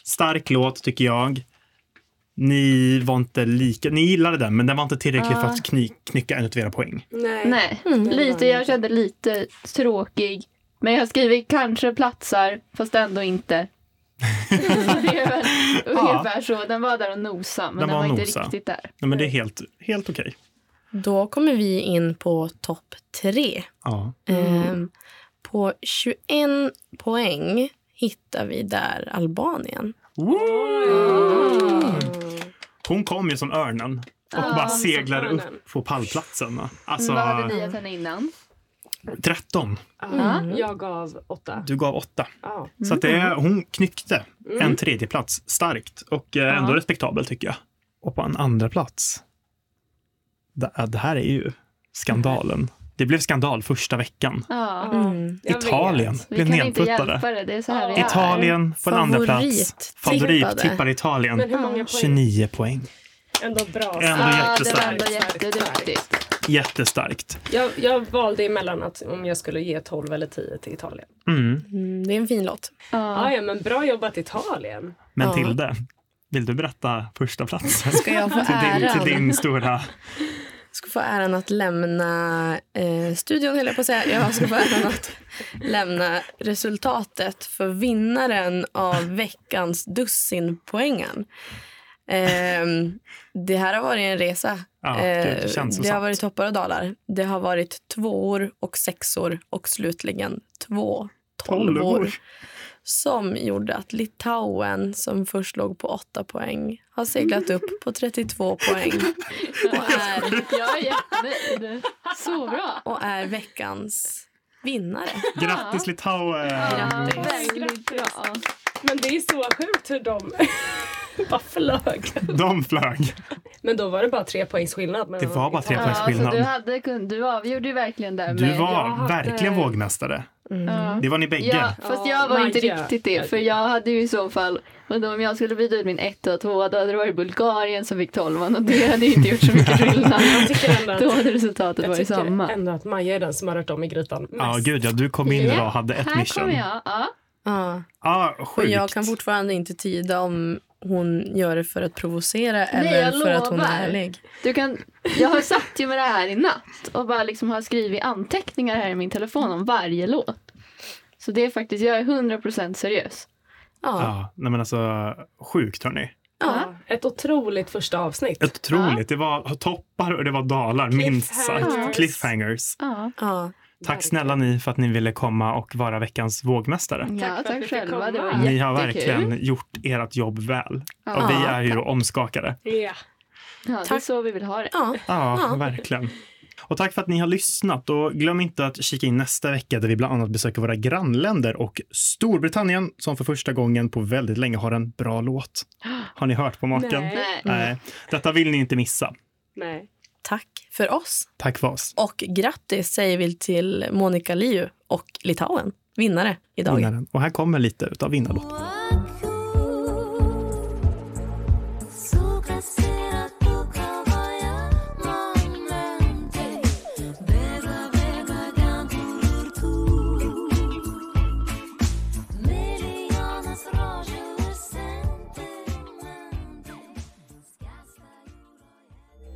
C: Stark låt tycker jag. Ni var inte lika, ni gillade den, men den var inte tillräcklig för att kny, knycka en av era poäng.
I: Nej.
H: Nej,
C: Mm.
H: lite, jag kände lite tråkig. Men jag skriver kanske platsar, fast ändå inte. [LAUGHS] Så det
C: [LAUGHS]
H: är väl ungefär så. Den var där och nosa, men
C: Den
H: den,
C: var
H: var, inte
C: nosa.
H: riktigt där.
C: Nej, men det är helt, helt okej.
B: Då kommer vi in på topp tre.
C: Ja.
B: Ehm, på 21 poäng hittar vi där Albanien.
C: Hon kom ju som örnen och bara seglar upp på pallplatsen. Alltså,
H: Vad hade ni gett henne innan?
C: 13.
I: Ja.
C: Mm.
I: Jag gav åtta.
C: Du gav 8.
I: Ja.
C: Så att det,
H: Mm.
C: är- hon knyckte en tredje plats starkt och eh, ändå
H: Ja.
C: respektabel tycker jag. Och på en andra plats. Det, eh, det här är ju skandalen. Det blev skandal första veckan.
H: Ja.
I: Jag vet.
C: Italien
H: Vi
C: blev
H: kan inte hjälpa
C: nedputtade.
H: det, det är så här vi är.
C: Italien på en andra plats.
B: Favorittippade.
C: Favorit tippar
I: Men
C: Italien.
I: hur många poäng?
C: 29 poäng.
I: Ändå bra.
C: Ändå
H: Ja, det var
C: jättestarkt.
H: ändå jätteduktigt.
C: Jättestarkt.
I: Jag, jag valde emellan att om jag skulle ge 12 eller 10 till Italien. Ah,
C: Mm.
B: Mm, det är en fin låt.
I: Ja, ja, men bra jobbat Italien.
C: Men
B: Ja.
C: Tilde, vill du berätta första [LAUGHS] platsen?
B: Ska jag få
C: Till din, till
B: äran?
C: din stora...
B: ska få äran att lämna eh, studion, höll jag på att säga. Jag ska få äran att lämna resultatet för vinnaren av veckans dussinpoängen. Ehm, det här har varit en resa.
C: Ja, det
B: Eh,
C: känns så
B: det har
C: sant.
B: varit toppar och dalar. Det har varit tvåor och sexor och slutligen två tolvor.
C: Tolvor.
B: Som gjorde att Litauen, som först låg på 8 poäng, har seglat upp på 32 poäng och är
H: Jag är jättenöjd. Så bra.
B: och är veckans vinnare.
C: Grattis Litauen!
H: Ja,
C: Mm.
B: Grattis.
H: väldigt bra.
I: Men det är så sjukt hur de [LAUGHS] bara flög.
C: De flög.
I: Men då var det bara tre poängs skillnad. mellan
C: Det var bara tre
I: Italien.
H: Ja,
C: poängs
H: alltså,
C: skillnad.
H: du, hade, kun- du avgjorde ju verkligen där.
C: Du
H: med-
C: var
I: jag hade-
C: verkligen vågmästare.
H: Ja.
C: Det var ni bägge.
H: Ja, fast
I: Ja,
H: jag var inte
I: Maja.
H: riktigt det. För jag hade ju i så fall, men om jag skulle byta ut min etta och tvåa då hade det varit Bulgarien som fick tolvan och det hade ju inte gjort så mycket
I: [LAUGHS]
H: skillnad.
I: tycker ändå att-
H: Då hade resultatet
I: Jag
H: varit
I: tycker
H: samma.
I: ändå att Maja är den som har rört om i grytan mest.
C: Ja, gud ja. Du kom in idag och hade ett
H: Här
C: mission.
H: kommer jag. Ja.
B: Ja.
C: Ja,
B: Och
C: sjukt.
B: jag kan fortfarande inte tyda om hon gör det för att provocera eller
H: jag
B: för att hon
H: lovar.
B: är ärlig.
H: Du kan, jag har satt ju med det här i natt och bara liksom har skrivit anteckningar här i min telefon om varje låt. Så det är faktiskt, jag är 100% seriös.
B: Ja.
C: Ja, nej men alltså sjukt hörni.
B: Ja.
I: Ett otroligt första avsnitt.
C: Ett Otroligt. Det var toppar och det var dalar, minst sagt.
I: Cliffhangers.
C: Cliffhangers.
H: Ja,
B: Ja.
C: Tack snälla ni för att ni ville komma och vara veckans vågmästare.
H: ja tack,
I: för att vi fick
H: själva. Det var
I: komma.
H: jättekul.
C: Ni har verkligen gjort ert jobb väl. Och vi är ju då omskakade.
I: Ja.
H: Ja, det är
B: Tack.
H: så vi vill ha det.
B: Ja.
C: Ja, verkligen. Och tack för att ni har lyssnat och glöm inte att kika in nästa vecka där vi bland annat besöker våra grannländer och Storbritannien som för första gången på väldigt länge har en bra låt. Har ni hört på maken?
I: Nej.
H: Nej.
C: Nej. Detta vill ni inte missa.
I: Nej.
B: Tack för oss.
C: Tack för oss.
B: Och grattis säger vi till Monica Liu och Litauen, vinnare idag.
C: Vinnaren. Och här kommer lite utav vinnarlåten.